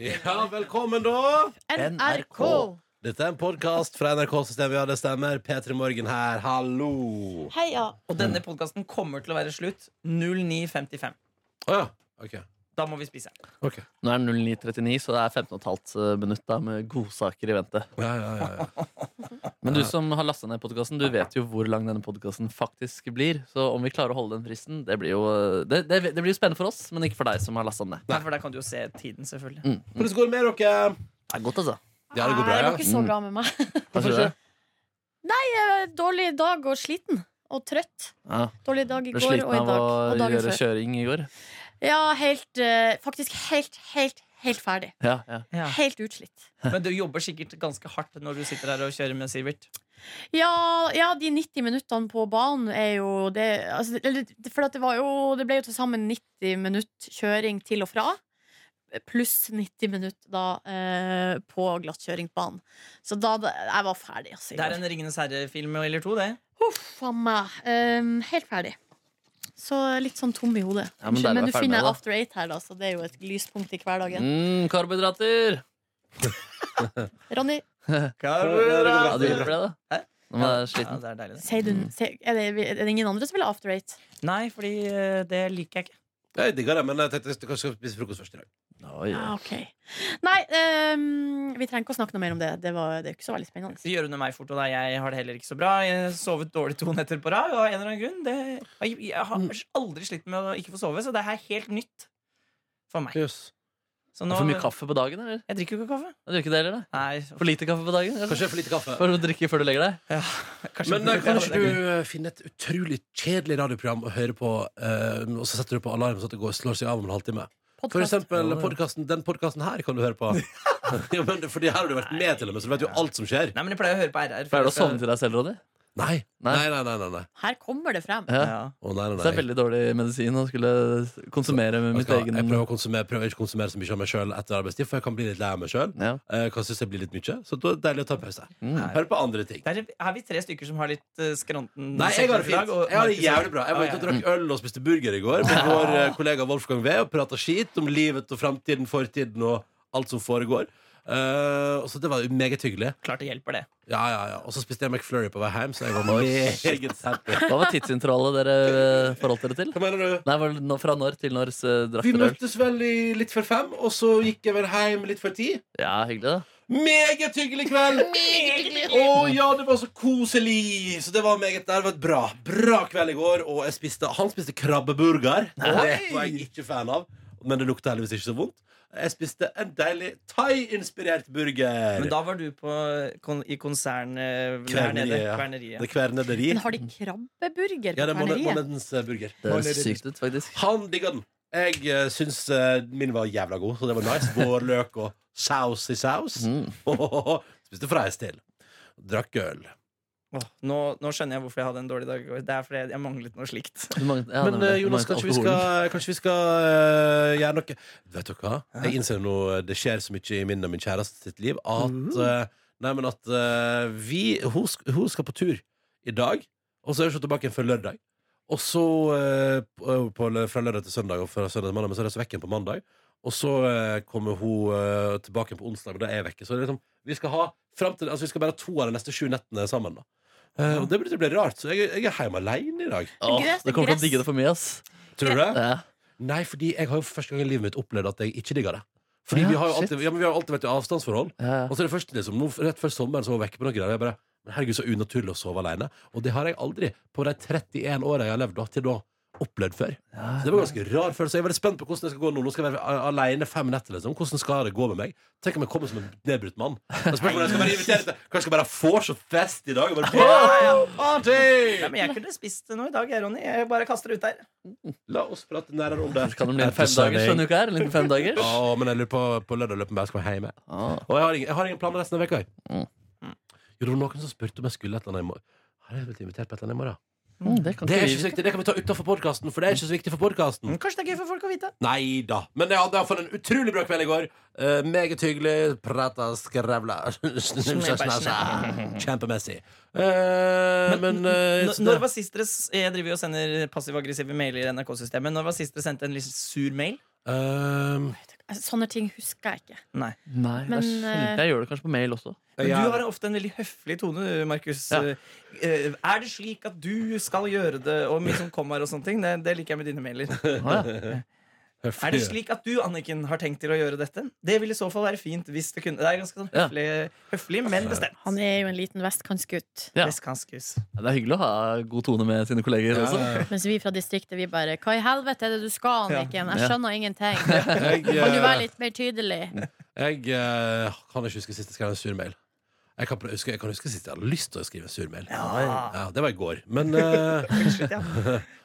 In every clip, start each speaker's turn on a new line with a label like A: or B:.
A: Ja, velkommen, da!
B: NRK.
A: Dette er en podkast fra NRK-systemet. Ja, det stemmer. P3 Morgen her. Hallo!
B: Heia.
C: Og denne podkasten kommer til å være slutt 09.55.
A: Å ja. OK.
C: Da må vi spise.
A: ok.
D: Nå er det 09.39, så det er 15,5 eh, minutt da, med godsaker i vente.
A: Ja, ja, ja, ja.
D: Men du som har lasta ned podkasten, du vet jo hvor lang denne podkasten faktisk blir. Så om vi klarer å holde den fristen, det blir jo, eh, det, det, det blir jo spennende for oss, men ikke for deg som har lasta den ned.
C: Nei, for der kan du jo se tiden, selvfølgelig.
A: Hvordan går det med dere?
D: Det er godt, altså.
A: Ja, det går bra,
B: Nei,
A: ja.
B: det går ikke så bra med meg.
D: Hva sier du?
B: Jeg er Dårlig i dag og sliten. Og trøtt.
D: Ja,
B: Dårlig dag i
D: ble
B: går og
D: sliten
B: i
D: av
B: dag. Og
D: å
B: dagen
D: gjøre
B: før.
D: kjøring i går.
B: Ja, helt eh, Faktisk helt, helt, helt ferdig.
D: Ja, ja.
C: Ja.
B: Helt utslitt.
C: Men du jobber sikkert ganske hardt når du sitter her og kjører med Sivert.
B: Ja, ja, de 90 minuttene på banen er jo det altså, eller, For at det, var jo, det ble jo til sammen 90 minutt kjøring til og fra. Pluss 90 minutt da eh, på glattkjøringsbanen. Så da da- Jeg var ferdig, altså. i
C: Det er
B: går.
C: en Ringenes herre-film eller to, det.
B: Huff a meg. Ehm, helt ferdig. Så litt sånn tom i hodet.
D: Ja, men
B: Unnskyld,
D: der er
B: men,
D: vi
B: du
D: ferdig
B: finner
D: med det, da.
B: After Eight her, da, så det er jo et lyspunkt i hverdagen.
D: Mm, karbohydrater! Mm.
B: Ronny,
D: Ja, du hjelper det, da.
C: Hæ?
D: Nå må jeg være
C: Ja,
D: sliten.
C: det er deilig. det.
B: sier du,
D: Mm.
B: sier- er, det, er det ingen andre som vil ha After Eight?
C: Nei, fordi eh, det liker jeg ikke.
A: Jeg digger det, men jeg tenkte jeg kanskje skal spise frokost først i dag.
D: Oi, oi.
B: Ah, ok. Nei, ehm, vi trenger ikke å snakke noe mer om det. Det, var, det er jo ikke så veldig spennende.
C: Gjør under meg fort, og da jeg har det heller ikke så bra. Jeg har sovet dårlig to netter på rad. Og av en eller annen grunn det, jeg, jeg har aldri slitt med å ikke få sove, så det her er helt nytt for meg.
A: Yes.
C: Så nå,
D: For mye kaffe på dagen, eller?
C: Jeg drikker jo ikke kaffe.
D: Du gjør ikke det heller, da?
C: Nei,
D: For lite kaffe på dagen? eller?
A: Kanskje for lite kaffe.
D: For å drikke før du legger deg?
C: kanskje
A: Men eh, kan ikke du eh, finne et utrolig kjedelig radioprogram å høre på, eh, og så setter du på alarm så at det går, slår seg av om en halvtime? For
B: Podcast.
A: eksempel podcasten, den podkasten her kan du høre på. ja, men, fordi her har du vært med, til og med, så du vet jo alt som skjer.
C: Nei, men jeg pleier å høre på RR.
D: Pleier du å sovne til deg selv, Ronny?
A: Nei. Nei,
D: Nei.
A: nei, nei. nei, nei.
B: Her kommer det frem.
D: Ja.
C: Ja.
A: Å, nei, nei,
D: Så
A: nei.
D: det er veldig dårlig medisin å skulle konsumere med
A: Jeg,
D: mitt
A: skal,
D: egen
A: jeg prøver, å konsumere, prøver ikke å konsumere så mye av meg sjøl etter arbeidstid, for jeg kan bli litt lei av meg sjøl.
D: ja.
A: Kan synes jeg blir litt mye. Så da er det deilig å ta en pause.
D: Mm.
A: Hør på andre ting.
C: Der er vi tre stykker som har litt eh, skranten
A: Nei, jeg har det
C: i dag,
A: fint.
C: og
A: Jeg har det
C: Markus-
A: jævlig bra. Jeg var ute og drakk øl og spiste burger i går med vår eh, kollega Wolfgang V og prata skit om livet og framtiden, fortiden og alt som foregår. Eh, og så Det var jo meget hyggelig.
C: Klart det hjelper, det.
A: Ja, ja, ja. Og så spiste jeg McFlurry på vei hjem, så jeg var meget happy.
D: Hva var tidsintervallet dere eh, forholdt dere til?
A: Hva mener du?
D: Nei, var det nå- Fra når til når eh, drakk
A: Vi
D: dere øl?
A: møttes vel i litt før fem, og så gikk jeg vel hjem litt før ti.
D: Ja, hyggelig, da.
A: Meget hyggelig kveld! Å ja, det var så koselig! Så det var meget det var et bra. Bra kveld i går. Og jeg spiste, han spiste krabbeburger. Og det var jeg ikke fan av, men det lukta heldigvis ikke så vondt. Jeg spiste en deilig thai-inspirert burger.
C: Men da var du på, kon i konsern eh, der
A: Kverneriet,
C: nede.
A: ja.
C: Kverneriet.
A: Det kvernederi.
B: Men har de krabbeburger
A: Ja,
B: på
A: det er måned-
B: kverneriet?
A: månedens eh, burger.
D: Det høres sykt ut, faktisk.
A: Han digga den. Jeg uh, syns eh, min var jævla god, så det var nice. Vårløk og saus i saus.
D: Mm.
A: Spiste freis til. Drakk øl.
C: Åh, nå, nå skjønner jeg hvorfor jeg hadde en dårlig dag i går. Det er fordi jeg, jeg manglet noe slikt.
D: Du manglet- ja,
A: Men
D: nemlig.
A: eh,
D: Du
A: Jonas,
D: manglet
A: kanskje vi
D: alkoholen.
A: skal, kanskje vi skal eh, gjøre noe Vet dere hva? Jeg innser nå eh, det skjer så mye i min og min kjæreste sitt liv at eh, Nei, men at eh, vi hun, sk- hun skal på tur i dag, og så er hun ikke tilbake igjen før lørdag. Og så eh, på, på, fra lørdag til søndag, og fra søndag til mandag, men så er det så vekk igjen på mandag. Og så eh, kommer hun eh, tilbake igjen på onsdag, men da er jeg vekke. Så det er liksom, vi skal ha frem til, altså, vi skal bare ha to av de neste sju nettene sammen. da Eh, og det blir, det blir rart, så jeg, jeg er hjemme alene i dag.
D: Åh,
B: Gress,
D: Du kommer til
B: gress.
D: å digge det for mye, ass.
A: Tror du det?
D: Ja.
A: Nei, fordi jeg har jo for første gang i livet mitt opplevd at jeg ikke digger det. Fordi
D: Ja,
A: vi, har jo
D: shit.
A: alltid, ja, men vi har jo alltid vært i avstandsforhold.
D: Ja.
A: Og så er det først liksom, nå, Rett før sommeren så var jeg vekke på noen greier. og Jeg bare, men herregud, så unaturlig å sove alene. Og det har jeg aldri på de 31 åra jeg har levd da, til da opplevd før. Så det var ganske rar følelse. Jeg er veldig spent på hvordan det skal gå nå. Nå skal jeg være a- alene fem netter. liksom Hvordan skal det gå med meg? Tenk om jeg kommer som en nedbrutt mann. Jeg spør om jeg skal bare invitere til Kanskje jeg skal bare ha vors og fest i dag. Og bare,
C: Nei,
A: party!
C: men jeg kunne spist noe i dag, jeg, Ronny. Jeg bare kaster det ut der.
A: La oss prate nærmere om det.
D: Kan det bli en femdagers denne uka her? En liten femdagers?
A: Ja, men jeg lurer på på lørdag løper jeg skal være hjemme.
D: Ah.
A: Og jeg har ingen, jeg har ingen planer resten av veka jeg.
D: Mm.
A: Jo, det var noen som spurte om jeg skulle et eller annet i morgen. Har jeg blitt invitert på et eller annet i morgen?
D: Mm, det kan
A: Det er
D: ikke
A: ikke så
D: vi
A: viktig, det kan vi ta utenfor podkasten, for det er ikke så viktig for podkasten.
C: Men Kanskje det er gøy for folk å vite.
A: Nei da. Men jeg hadde iallfall en utrolig bra kveld i går. Eh, meget hyggelig. Prata, skrevla
C: Snæsja, snæsja.
A: Kjempemessig. Eh, men eh,
C: N-
A: sånn-
C: Når var sist dere s- Jeg driver jo og sender passiv-aggressive mailer i NRK-systemet. Når var sist dere sendte en litt sur mail?
A: Eh,
B: Altså, Sånne ting husker jeg ikke.
C: Nei.
D: Nei, det
B: Men,
D: er kjempe. Jeg gjør det kanskje på mail også.
C: Men du har ofte en veldig høflig tone, du, Markus.
D: Ja.
C: Eh, Er det slik at du skal gjøre det, og mye som kommer og sånne ting? Det, det liker jeg med dine mailer.
D: Ah, ja.
C: Er det slik at du, Anniken, har tenkt til å gjøre dette? Det vil i så fall være fint hvis det kunne. Det er ganske sånn
D: Ja.
C: høflig, høflig men bestemt.
B: Han er jo en liten vestkantsgutt.
D: Ja.
C: Vestkanskus.
D: Det er hyggelig å ha god tone med sine kolleger
A: Ja,
D: også.
A: ja, ja.
B: Mens vi fra distriktet, vi bare Hva i helvete er det du skal, Anniken?
D: Ja.
B: Jeg skjønner ingenting.
A: Jeg,
B: Kan du
A: eh,
B: være litt mer tydelig?
A: Jeg eh, kan ikke huske sist jeg skrev en sur mail. Jeg kan, huske, jeg kan huske sist jeg hadde lyst til å skrive en sur mail.
C: Ja.
A: Ja, det var i går. Men eh,
C: Unnskyld, ja.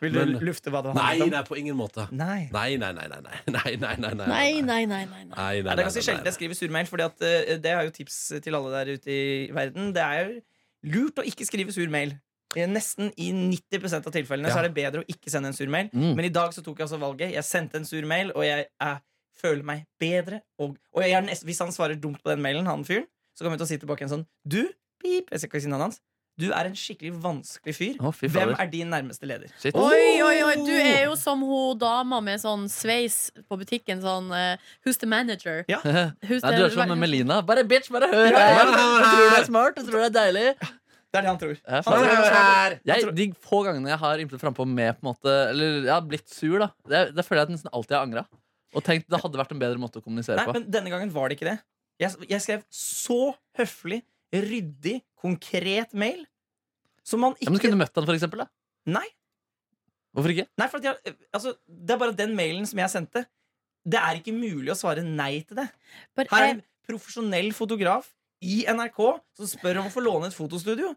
C: Vil du
A: Men-
C: lufte hva det
A: nei,
C: handlet om?
A: nei, på ingen måte.
C: Nei.
A: Nei, nei, nei, nei. nei, nei, nei, nei, nei.
B: Nei, nei, nei. nei, nei.
A: Nei, nei,
C: Ja, det er
A: nei,
C: ganske
A: nei,
C: sjelden jeg skriver surmail, Fordi at eh, det er jo tips til alle der ute i verden. Det er jo lurt å ikke skrive sur mail. Eh, Nesten i 90 av tilfellene
A: Ja.
C: Så er det bedre å ikke sende en sur mail.
D: Mm.
C: Men i dag så tok jeg altså valget. Jeg sendte en sur mail, og jeg, eh, føler meg bedre. Og, og jeg er nest, hvis han svarer dumt på den mailen, han fyren, så kommer jeg til å si tilbake en sånn Du, pip, jeg skal ikke si navnet hans. Du er en skikkelig vanskelig fyr.
D: Å, fy
C: Hvem
D: fader.
C: er din nærmeste leder?
D: Shit.
B: Oi, oi, oi, du er jo som hun dama med sånn sveis på butikken. Sånn eh, Who's the manager?
C: Ja.
B: Who's
D: Nei, du er som Melina. Bare bitch, bare hør! her.
C: Ja, ja,
A: ja,
D: Jeg
A: ja.
D: tror du er smart, jeg tror du er deilig.
C: Det er Altså, det han tror.
D: Jeg, er sånn-
C: Han tror
D: faen-
C: han er smart.
D: jeg, de få gangene jeg har ymplet frampå med på en måte Eller jeg har blitt sur, da. Det, det føler jeg at nesten alltid jeg har angra. Og tenkt det hadde vært en bedre måte å kommunisere
C: Nei,
D: på.
C: men denne gangen var det ikke det. Jeg, jeg skrev så høflig, ryddig, konkret mail. Som man
D: Ja,
C: ikke
D: men Kunne du møtt han, for eksempel? Da?
C: Nei,
D: Hvorfor ikke?
C: nei for at jeg, altså, det er bare den mailen som jeg sendte. Det er ikke mulig å svare nei til det.
B: Bare
D: Eh,
C: Her er
B: jeg-
C: en profesjonell fotograf i NRK som spør om å få låne et fotostudio.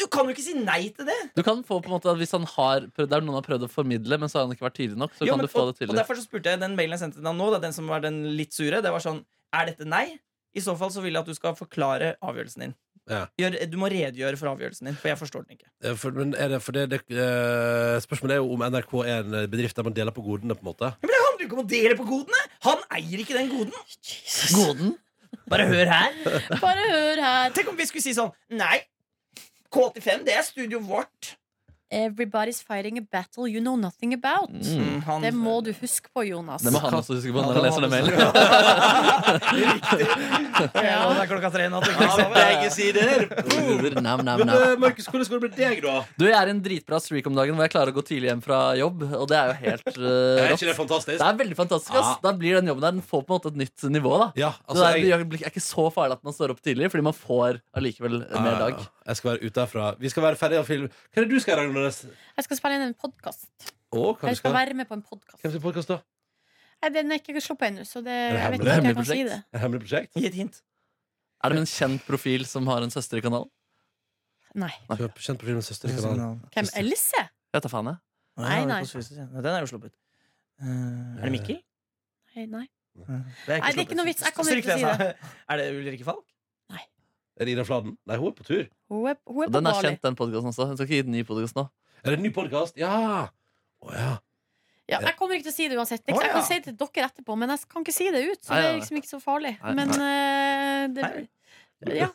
C: Du kan jo ikke si nei til det!
D: Du kan få på en måte at Hvis han har prøvd, det er noen har prøvd å formidle, men så har han ikke vært tydelig nok, så
C: Jo,
D: kan
C: men-
D: du få
C: og,
D: det
C: og
D: tydelig.
C: derfor så spurte jeg den mailen jeg sendte til deg nå, da, den som var den litt sure. Det var sånn Er dette nei? I så fall så vil jeg at du skal forklare avgjørelsen din.
A: Ja.
C: Gjør, du må redegjøre for avgjørelsen din, for jeg forstår den ikke.
A: Eh, For, men er det, for det, det, eh, spørsmålet er jo om NRK er en eh, bedrift der man deler på godene, på en måte.
C: Men det handler jo ikke om å dele på godene! Han eier ikke den goden!
B: Jesus.
D: Goden.
C: Bare hør her.
B: eh, Bare hør her.
C: Tenk om vi skulle si sånn Nei, K85, det er studioet vårt.
B: Everybody's fighting a battle you know nothing about.
D: Mm.
C: han,
B: Det må du huske på, Jonas.
D: Det må han også huske på når han leser den mailen.
C: Ja, det er klokka tre i natt. ikke sant?
A: sider!
D: Nam, nam,
A: Men
D: nam.
A: eh, Markus, hvordan skal det bli deg, da?
D: Du, jeg er i en dritbra streak om dagen hvor jeg klarer å gå tidlig hjem fra jobb. Og det er jo helt eh,
A: Er
D: rått.
A: ikke det fantastisk?
D: Det er veldig fantastisk. ass
A: Ja.
D: Da blir den jobben der Den får på en måte et nytt nivå. da
A: Ja,
D: det,
A: altså,
D: er,
A: jeg,
D: det er ikke så farlig at man står opp tidlig, fordi man får allikevel en mer dag.
A: jeg skal være ute herfra. Vi skal være ferdige av film. Hva er det du skal i dag, Nordnes?
B: Jeg skal spille inn en podkast.
A: Å, hva
B: Jeg
A: du
B: skal
A: skal?
B: være med på en podkast.
A: Hvem sin podkast, da?
B: Nei, Den er ikke sluppet ennå, så det, jeg vet
A: hemmelig?
B: ikke om jeg
D: Hemmelig
B: kan si
D: prosjekt?
B: det.
A: Et hemmelig prosjekt?
C: Gi et hint.
D: Er det med en kjent profil som har en søster i kanalen?
B: Nei.
A: Du er Kjent på filmen Søster. skal han-
B: Hvem? Else?
D: Jeg tar faen, jeg.
B: Nei, nei.
C: Den er jo sluppet. Eh, er det Mikkel?
B: Nei, nei.
C: Det er
B: Nei, det er ikke noe vits. Jeg kommer
C: Stryk
B: ikke til å si
C: jeg sa. Er det Ulrikke Falk?
A: Er det Ida Fladen? Nei, hun er på tur.
B: Hun er, hun er på
D: Og Den er
B: Bali.
D: kjent, den podkasten også. Hun skal ikke gi den ny podcast nå.
A: Er det en ny podkast? Ja! Å ja.
B: Ja, jeg kommer ikke til å si det uansett.
C: Å,
B: Jeg
C: ja.
B: kan si det til dere etterpå, men jeg kan ikke si det ut. Så
D: Nei,
B: det
D: nei,
B: er
D: nei.
B: liksom ikke så farlig.
D: Nei,
B: Men eh,
C: Nei.
B: det, ja.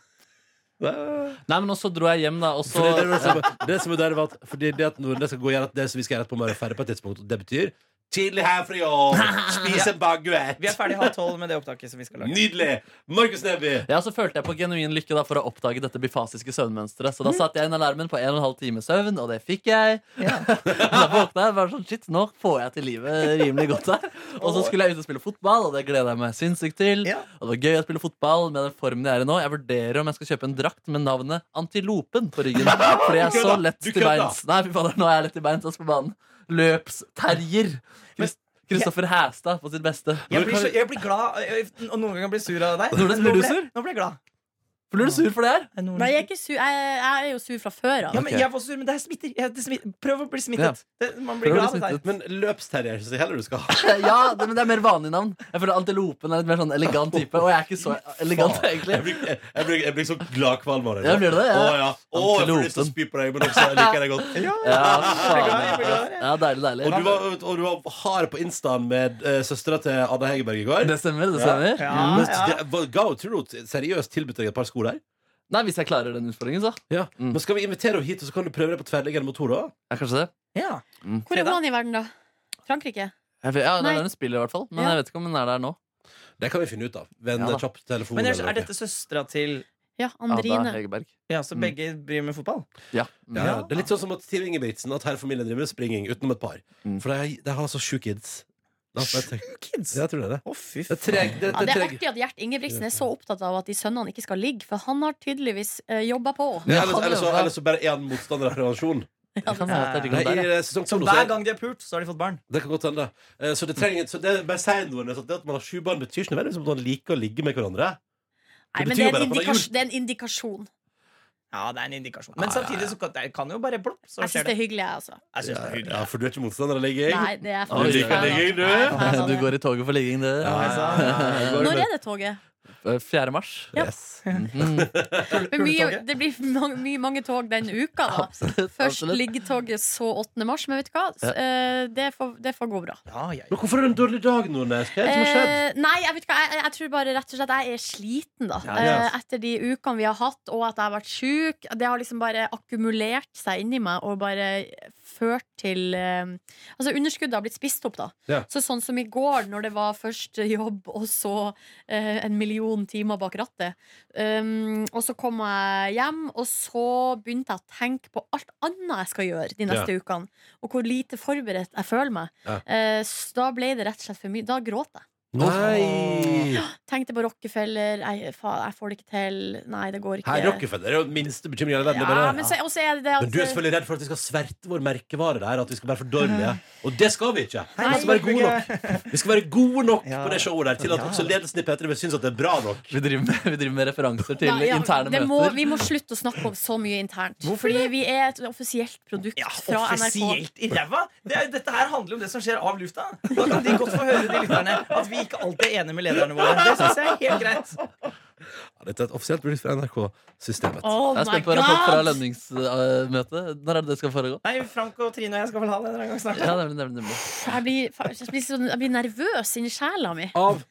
D: Nei, men også dro jeg hjem, da. Og så
A: For det, det, som, det som er der var at Fordi det at Nordnes skal gå og gjøre at det som vi skal gjøre på Møre Ferre på et tidspunkt, og det betyr tidlig her fra jobb, spis en
C: Vi er
A: baguett.
C: ferdig halv tolv med det opptaket som vi skal lage.
A: Nydelig! Markus Neby.
D: ja, så følte jeg på genuin lykke da for å oppdage dette bifasiske søvnmønsteret. Så da satte jeg inn alarmen på 1 12 times søvn, og det fikk jeg. Da våkna jeg og var sånn Shit, nå får jeg til livet rimelig godt her. Og så skulle jeg ut og spille fotball, og det gleda jeg meg sinnssykt til.
C: Ja.
D: Og det var gøy å spille fotball med den formen jeg er i nå. Jeg vurderer om jeg skal kjøpe en drakt med navnet Antilopen på ryggen. Fordi jeg er så
A: kødda!
D: lett
A: Du
D: til
A: kødda!
D: beins. Nei, fy fader, nå er jeg lett til beins. ass, på banen. Løpsterjer. Krist- Kristoffer Hæstad på sitt beste.
C: Jeg blir, så, jeg blir glad, eh, og noen ganger blir jeg sur av deg.
D: Nordnes, blir
C: Nå
D: du
C: ble-
D: sur?
C: Nå ble jeg glad.
D: Blir du sur for det her?
C: Er Nordnes-
B: Nei, jeg er ikke sur. Jeg, jeg er jo sur fra før av.
C: Ja, men jeg var også sur, men det er smitter. Jeg, det smitter. Prøv å bli smittet. Det, man blir
D: Prøv å
C: glad
D: bli
C: av det
D: smittet.
C: der.
A: Men løpsterrier syns jeg heller du skal ha.
D: Ja, det, men det er mer vanlig navn. Jeg føler Antilopen er litt mer sånn elegant type. Og jeg er ikke så elegant, egentlig.
A: Jeg blir, jeg, jeg blir, jeg blir så gladkvalm av det.
D: Ja, blir du det?
A: Å
D: Ja.
A: ja. Å, jeg får lyst til å spy på deg, men også jeg liker deg godt.
D: Ja,
C: Jeg blir glad, jeg blir
D: faen.
C: glad, jeg.
D: ja deilig, deilig.
A: Og du var, og du var hard på instaen med uh, søstera til Anna Hegerberg i går.
D: Det stemmer, det stemmer.
C: Ja,
A: Men
C: ja.
A: det- hva- Ga hun tror du hun seriøst tilbudte deg et par sko der?
D: Nei, hvis jeg klarer den utfordringen, så.
A: Ja.
D: Mm.
A: Men skal vi invitere henne hit, og så kan du prøve deg på tverrliggende mot henne? da?
D: Ja, kanskje det.
C: Ja.
B: Hvor er
C: Frida?
B: hun i verden, da? Frankrike?
D: Jeg vet, ja, det
B: Nei.
D: er der hun spiller, i hvert fall. Men
B: Ja.
D: jeg vet ikke om hun er der nå.
A: Det kan vi finne ut av ved en
D: Ja da.
A: kjapp telefon.
C: Men ellers,
A: eller
C: er
A: noe.
C: dette søstera til
B: Ja,
D: Ada
B: Andrine.
D: Hegerberg.
C: Ja, så
D: Mm.
C: begge driver med fotball?
D: Ja.
A: ja, ja. Det er litt sånn som at Team Ingebrigtsen At hele familien driver med springing utenom et par.
D: Mm.
A: For de, de har så sju kids. De har bare tre-
C: Kids!
A: Ja, jeg tror det er det.
C: Å, fy
A: Det er treg, det,
B: Ja, det
A: det
B: er
A: er treg.
B: artig at Gjert Ingebrigtsen er så opptatt av at de sønnene ikke skal ligge, for han har tydeligvis uh, jobba på.
A: Ja, ellers, ellers, så, ellers så bare er han motstander av prevensjon.
D: Det kan være at det er
A: Nei,
D: det der, ja.
A: i eh, sesong
C: Så
A: to nå, så
C: hver
A: er-
C: gang de har pult, så har de fått barn.
A: Det kan godt hende. Eh, Så det trenger Så det er bare si noe at det at man har sju barn, betyr ikke nødvendigvis at man liker å ligge med hverandre.
B: Nei,
A: Det betyr
B: men det
A: jo
B: er,
A: bare
B: en
A: at man har
B: indikas- det er en indikasjon.
C: Ja, det er en indikasjon. Men
D: Ja, ja,
C: samtidig så kan det kan jo bare plopp. Så
B: Jeg syns
C: skjer
B: det
C: det.
B: er hyggelig, jeg, altså.
C: Jeg synes det er hyggelig.
A: Ja, for du er ikke motstander av ligging?
B: Nei, det er
D: Oi,
B: faktisk
D: du liker
B: feil,
A: ligging, du?
B: altså. Nei, feil, altså,
D: Du
B: det.
D: går i toget for ligging, det.
A: Ja,
C: Nei,
A: ja,
C: så-
A: ja, ja.
B: Når er det toget?
D: 4. eh, mars.
B: Ja.
A: Yes.
D: Mhm.
B: Men mye,
C: Kuletoget?
B: det blir mange, mye, mange tog den uka, da.
D: Absolutt.
B: Først
D: absolutt.
B: liggetoget, så 8. mars. Men vet du hva? S-
D: Ja.
B: eh, Det, får, det får gå bra.
C: Ja, ja, ja.
A: Men hvorfor er det en dårlig dag nå, Nes? Hva er det som har skjedd?
B: Eh, nei, jeg vet ikke, jeg, jeg tror bare rett og slett jeg er sliten, da.
A: Ja, ja.
B: Eh, etter de ukene vi har hatt, og at jeg har vært sjuk. Det har liksom bare akkumulert seg inni meg og bare ført til eh, Altså, underskuddet har blitt spist opp, da.
A: Ja.
B: Så sånn som i går, når det var først jobb, og så eh, en million timer bak rattet. Um, og så kom jeg hjem, og så begynte jeg å tenke på alt annet jeg skal gjøre de neste ukene, og hvor lite forberedt jeg føler meg.
A: Ja.
B: Eh, så da ble det rett og slett for mye. Da gråt jeg.
A: Eh, Nei!
B: Tenkte på Rockefeller. Jeg, faen, jeg får det ikke til. Nei, det går ikke.
A: Her, Rockefeller er jo den minste bekymringen i verden. det er
B: ja,
A: bare-
B: men så, og så er det det at
A: Men du er selvfølgelig redd for at vi skal sverte vår merkevare der. At vi skal være for dårlige. Og det skal vi ikke!
C: Hei,
A: Vi skal være gode nok, vi skal være gode nok
C: Ja.
A: på det showet der til at
C: Ja.
A: også ledelsen i P3 vil synes at det er bra nok.
D: Vi driver, med, vi driver med referanser til
B: Nei, ja,
D: interne
B: det
D: møter.
B: må, vi må slutte å snakke om så mye internt.
C: Hvorfor
B: Fordi vi er et offisielt produkt
C: Ja,
B: fra NRK.
C: offisielt i ræva! Det er, dette her handler jo om det som skjer av lufta. Da kan de godt få høre, de lytterne, at vi ikke alltid er enige med lederne våre. Det synes jeg er helt greit.
A: Ja, Dette er et offisielt produkt fra NRK-systemet.
B: Oh
D: Jeg er
B: my
D: spent på rapport fra
B: god!
D: lønningsmøtet. Når er det det skal foregå?
C: Nei, Frank og Trine og jeg skal vel ha det en eller annen gang snart.
D: Ja, nemlig, nemlig, nemlig.
B: Jeg blir, fa- jeg blir, sånn, jeg blir nervøs inni sjela mi.
A: Av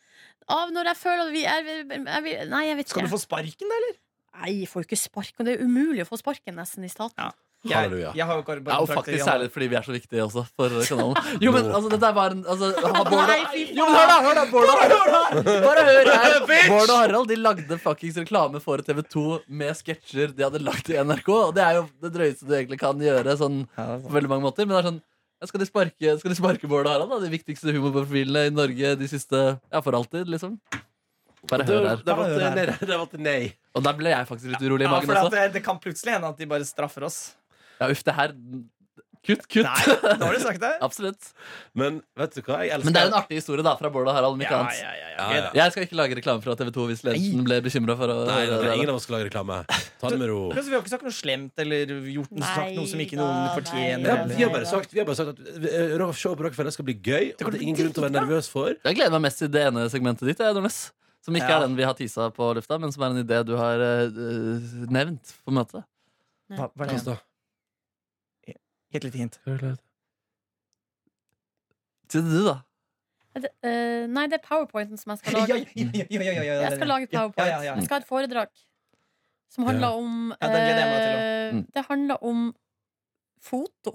B: Av når jeg føler at vi er jeg, blir- Nei, jeg vet
C: Skal
B: ikke.
C: du få sparken, da, eller?
B: Nei, jeg får jo ikke sparken. Det er umulig å få sparken nesten i staten.
A: Halleluja.
C: Jeg, jeg har jo ikke
D: Ja, og
C: arbeidskontrakt i
D: faktisk
C: januar.
D: særlig fordi vi er så viktige også for kanalen. Jo, men altså, dette var en altså, ha, Bård
B: Nei,
D: og-
B: fy
D: Jo, men hør da, hør da, Bård og Harald! Bare hør her. Bård og Harald de lagde fuckings reklame for TV2 med sketsjer de hadde lagd i NRK. Og det er jo det drøyeste du egentlig kan gjøre sånn på veldig mange måter. Men det er sånn ja, skal de, sparke, skal de sparke Bård og Harald, da? De viktigste humorprofilene i Norge de siste Ja, for alltid, liksom. Bare hør her.
A: Der valgte jeg nei. Der valgte jeg nei.
D: Og der ble jeg faktisk litt urolig i
C: Ja,
D: magen
C: for at
D: også.
C: det, det kan plutselig hende at de bare straffer oss.
D: Ja, uff, det her Kutt,
C: Nei,
D: kutt.
C: nå har du sagt det.
D: Absolutt.
A: Men vet du hva? Jeg elsker
D: Men det er jo en artig historie da fra Bård og Harald. om ikke annet.
C: ja, ja,
A: Ja,
C: gøy
A: ja.
C: da.
D: Jeg skal ikke lage reklame fra TV2 hvis ledelsen ble bekymra for å
A: Nei, nei, nei, ingen av oss skal lage reklame. Ta det med ro.
C: Men så Vi har ikke sagt noe slemt eller gjort noe, sagt noe som ikke
B: Nei
C: noen
B: da,
C: fortjener.
B: nei
A: Ja,
B: da.
A: vi, har bare sagt, vi har bare sagt at eh, ro- showet på Rockefeller skal bli gøy. Og det er ingen grunn til å være nervøs for.
D: Jeg gleder meg mest til det ene segmentet ditt. Jeg, Nordnes. som ikke
C: Ja.
D: er den vi har tisa på lufta, men som er en idé du har eh, eh, nevnt på møtet.
C: Hva, hva er det?
A: Altså,
C: Helt lite hint.
D: Til du, da.
B: Det- eh, nei, det er powerpointen som jeg skal
C: Ja, ja,
B: lage.
A: Mm.
C: ja, ja, ja, ja, ja,
B: Jeg skal lage powerpoint.
C: Ja, ja, ja.
B: Jeg skal ha et foredrag som handler om
C: Ja, den gleder jeg meg til
B: eh,
D: Mm.
B: Det handler om foto.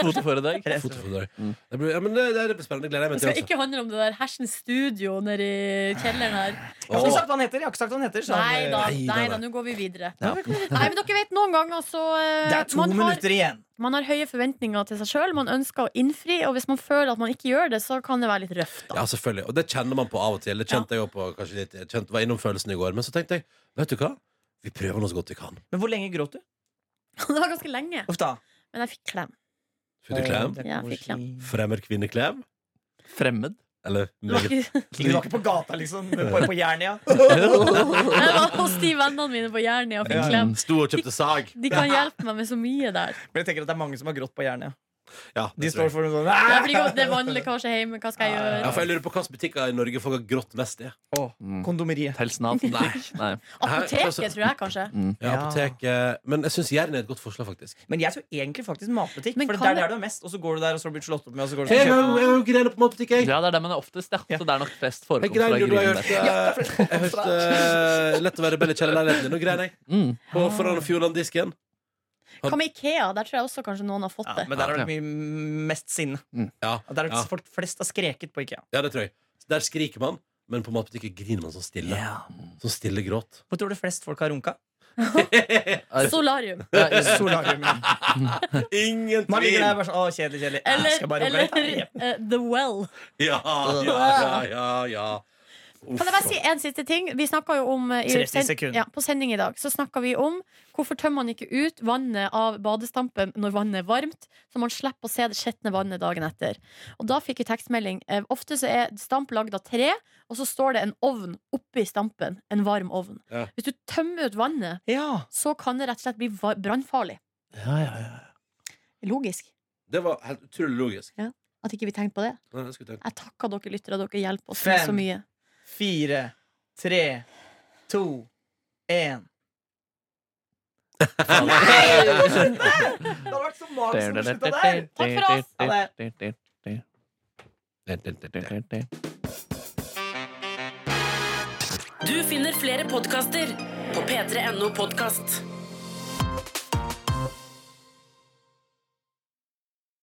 D: Fotoforedrag.
C: Rett og slett.
A: fotoforedrag.
D: Mm.
A: Det blir- Ja, men det, det blir spennende. Det gleder jeg
B: Det
A: meg
B: skal
A: til. altså.
B: ikke handle om det der Hersen Studio nede i kjelleren her.
C: Jeg har ikke
A: Altså.
C: sagt hva han heter. Jeg har ikke sagt hva han heter så han, eh,
B: Nei da,
A: Nei, nei,
B: nei
A: nei.
B: da, nå går vi videre.
C: Ja.
B: Nei, men dere vet, noen ganger så eh,
C: Det er to
B: man har,
C: minutter igjen.
B: man har høye forventninger til seg sjøl, man ønsker å innfri, og hvis man føler at man ikke gjør det, så kan det være litt røft,
A: Ja,
B: da.
A: selvfølgelig. Og det kjenner man på av og til. Det kjente jeg jo på kanskje litt. Jeg kjente, var innom følelsen i går. Men så tenkte jeg, vet du hva? Vi prøver nå så godt vi kan.
C: Men hvor lenge gråt du?
B: Det var ganske lenge,
C: Uff da. Eh,
B: men jeg fikk klem.
A: Fikk du klem?
C: Det er
B: Ja,
C: koselig.
B: fikk klem.
A: Fremmer kvinneklem?
D: Fremmed.
A: Eller
B: Det var
A: meget
B: ikke
C: Du var ikke på gata, liksom? Bare på Jernia?
B: Jeg var hos de vennene mine på Jernia og fikk
C: Ja.
B: klem.
A: Sto og kjøpte sag.
B: De kan hjelpe meg med så mye der.
C: Men jeg tenker at det er mange som har grått på Jernia.
A: Ja,
C: De
A: det tror jeg.
C: står for noe
B: Ja,
C: sånn
B: fordi Det er vannlekkasje hjemme, hva skal jeg
A: Ja,
B: gjøre?
A: for jeg lurer på hvilke butikker i Norge folk har grått mest i.
C: Åh,
D: Mm.
C: Kondomeriet.
D: Pelsnav. Nei. Nei.
B: Apoteket, tror jeg kanskje.
A: Ja,
C: Ja.
A: apotek, eh, men jeg syns Jæren er et godt forslag, faktisk.
C: Men jeg tror egentlig faktisk matbutikk.
B: Men
C: For det
B: kan
C: er der
B: det-
C: du er mest, og så går du der, og så har du blitt slått opp med, og så
A: Jeg
C: går du til
A: har jo- jeg har jo grener på matbutikk, jeg.
D: Ja, det er der man er oftest, ja. Så det er nok flest
A: Jeg
D: forekomst
A: grein
D: fra
A: jo, du har
D: grillen
A: hørt
D: der.
A: eh, Jeg hørte eh, Lett å være rebell i kjellerleiligheten din. Nå grein jeg.
D: Mm.
A: På foran Fjordland-disken.
B: Hva med Ikea? Der tror jeg også kanskje noen har fått
C: ja,
B: det.
C: Men der er det mye mest sinne.
A: Ja,
C: At Der er
A: Ja.
C: Folk flest har skreket på IKEA.
A: ja, det tror jeg. Der skriker man, men på matbutikken griner man sånn stille. Sånn stille gråt.
C: Hvor tror du flest folk har runka?
B: Solarium.
D: Ja, i-
C: Solarium. ja.
A: Ingen
C: Man ligger der
A: tvil!
C: bare sånn, å, kjedelig, kjedelig. Jeg skal
B: Eller,
C: bare runke litt.
B: eller eh, The Well.
A: Ja, ja, ja, ja, ja. Uff.
B: Kan jeg bare si en siste ting? Vi snakka jo om eh, i
C: 30
B: send-
C: sekunder.
B: ja, På sending i dag så snakka vi om hvorfor tømmer man ikke ut vannet av badestampen når vannet er varmt, så man slipper å se det skjetne vannet dagen etter. Og da fikk vi tekstmelding. Eh, Ofte så er stamp lagd av tre, og så står det en ovn oppi stampen. En varm ovn.
A: Ja.
B: Hvis du tømmer ut vannet,
C: Ja.
B: så kan det rett og slett bli va- brannfarlig.
D: ja, ja, ja.
B: Logisk.
A: Det var helt utrolig logisk.
B: At ikke vi tenkte på det.
A: Nei, det skulle jeg tenkt.
B: Jeg takker dere lyttere, dere hjelper oss
C: Fem.
B: så mye.
C: Fire, tre, to, én. Det hadde vært så magisk å slutte der.
B: Takk for oss.
C: Ha det.
E: Du finner flere podkaster på p3.no podkast.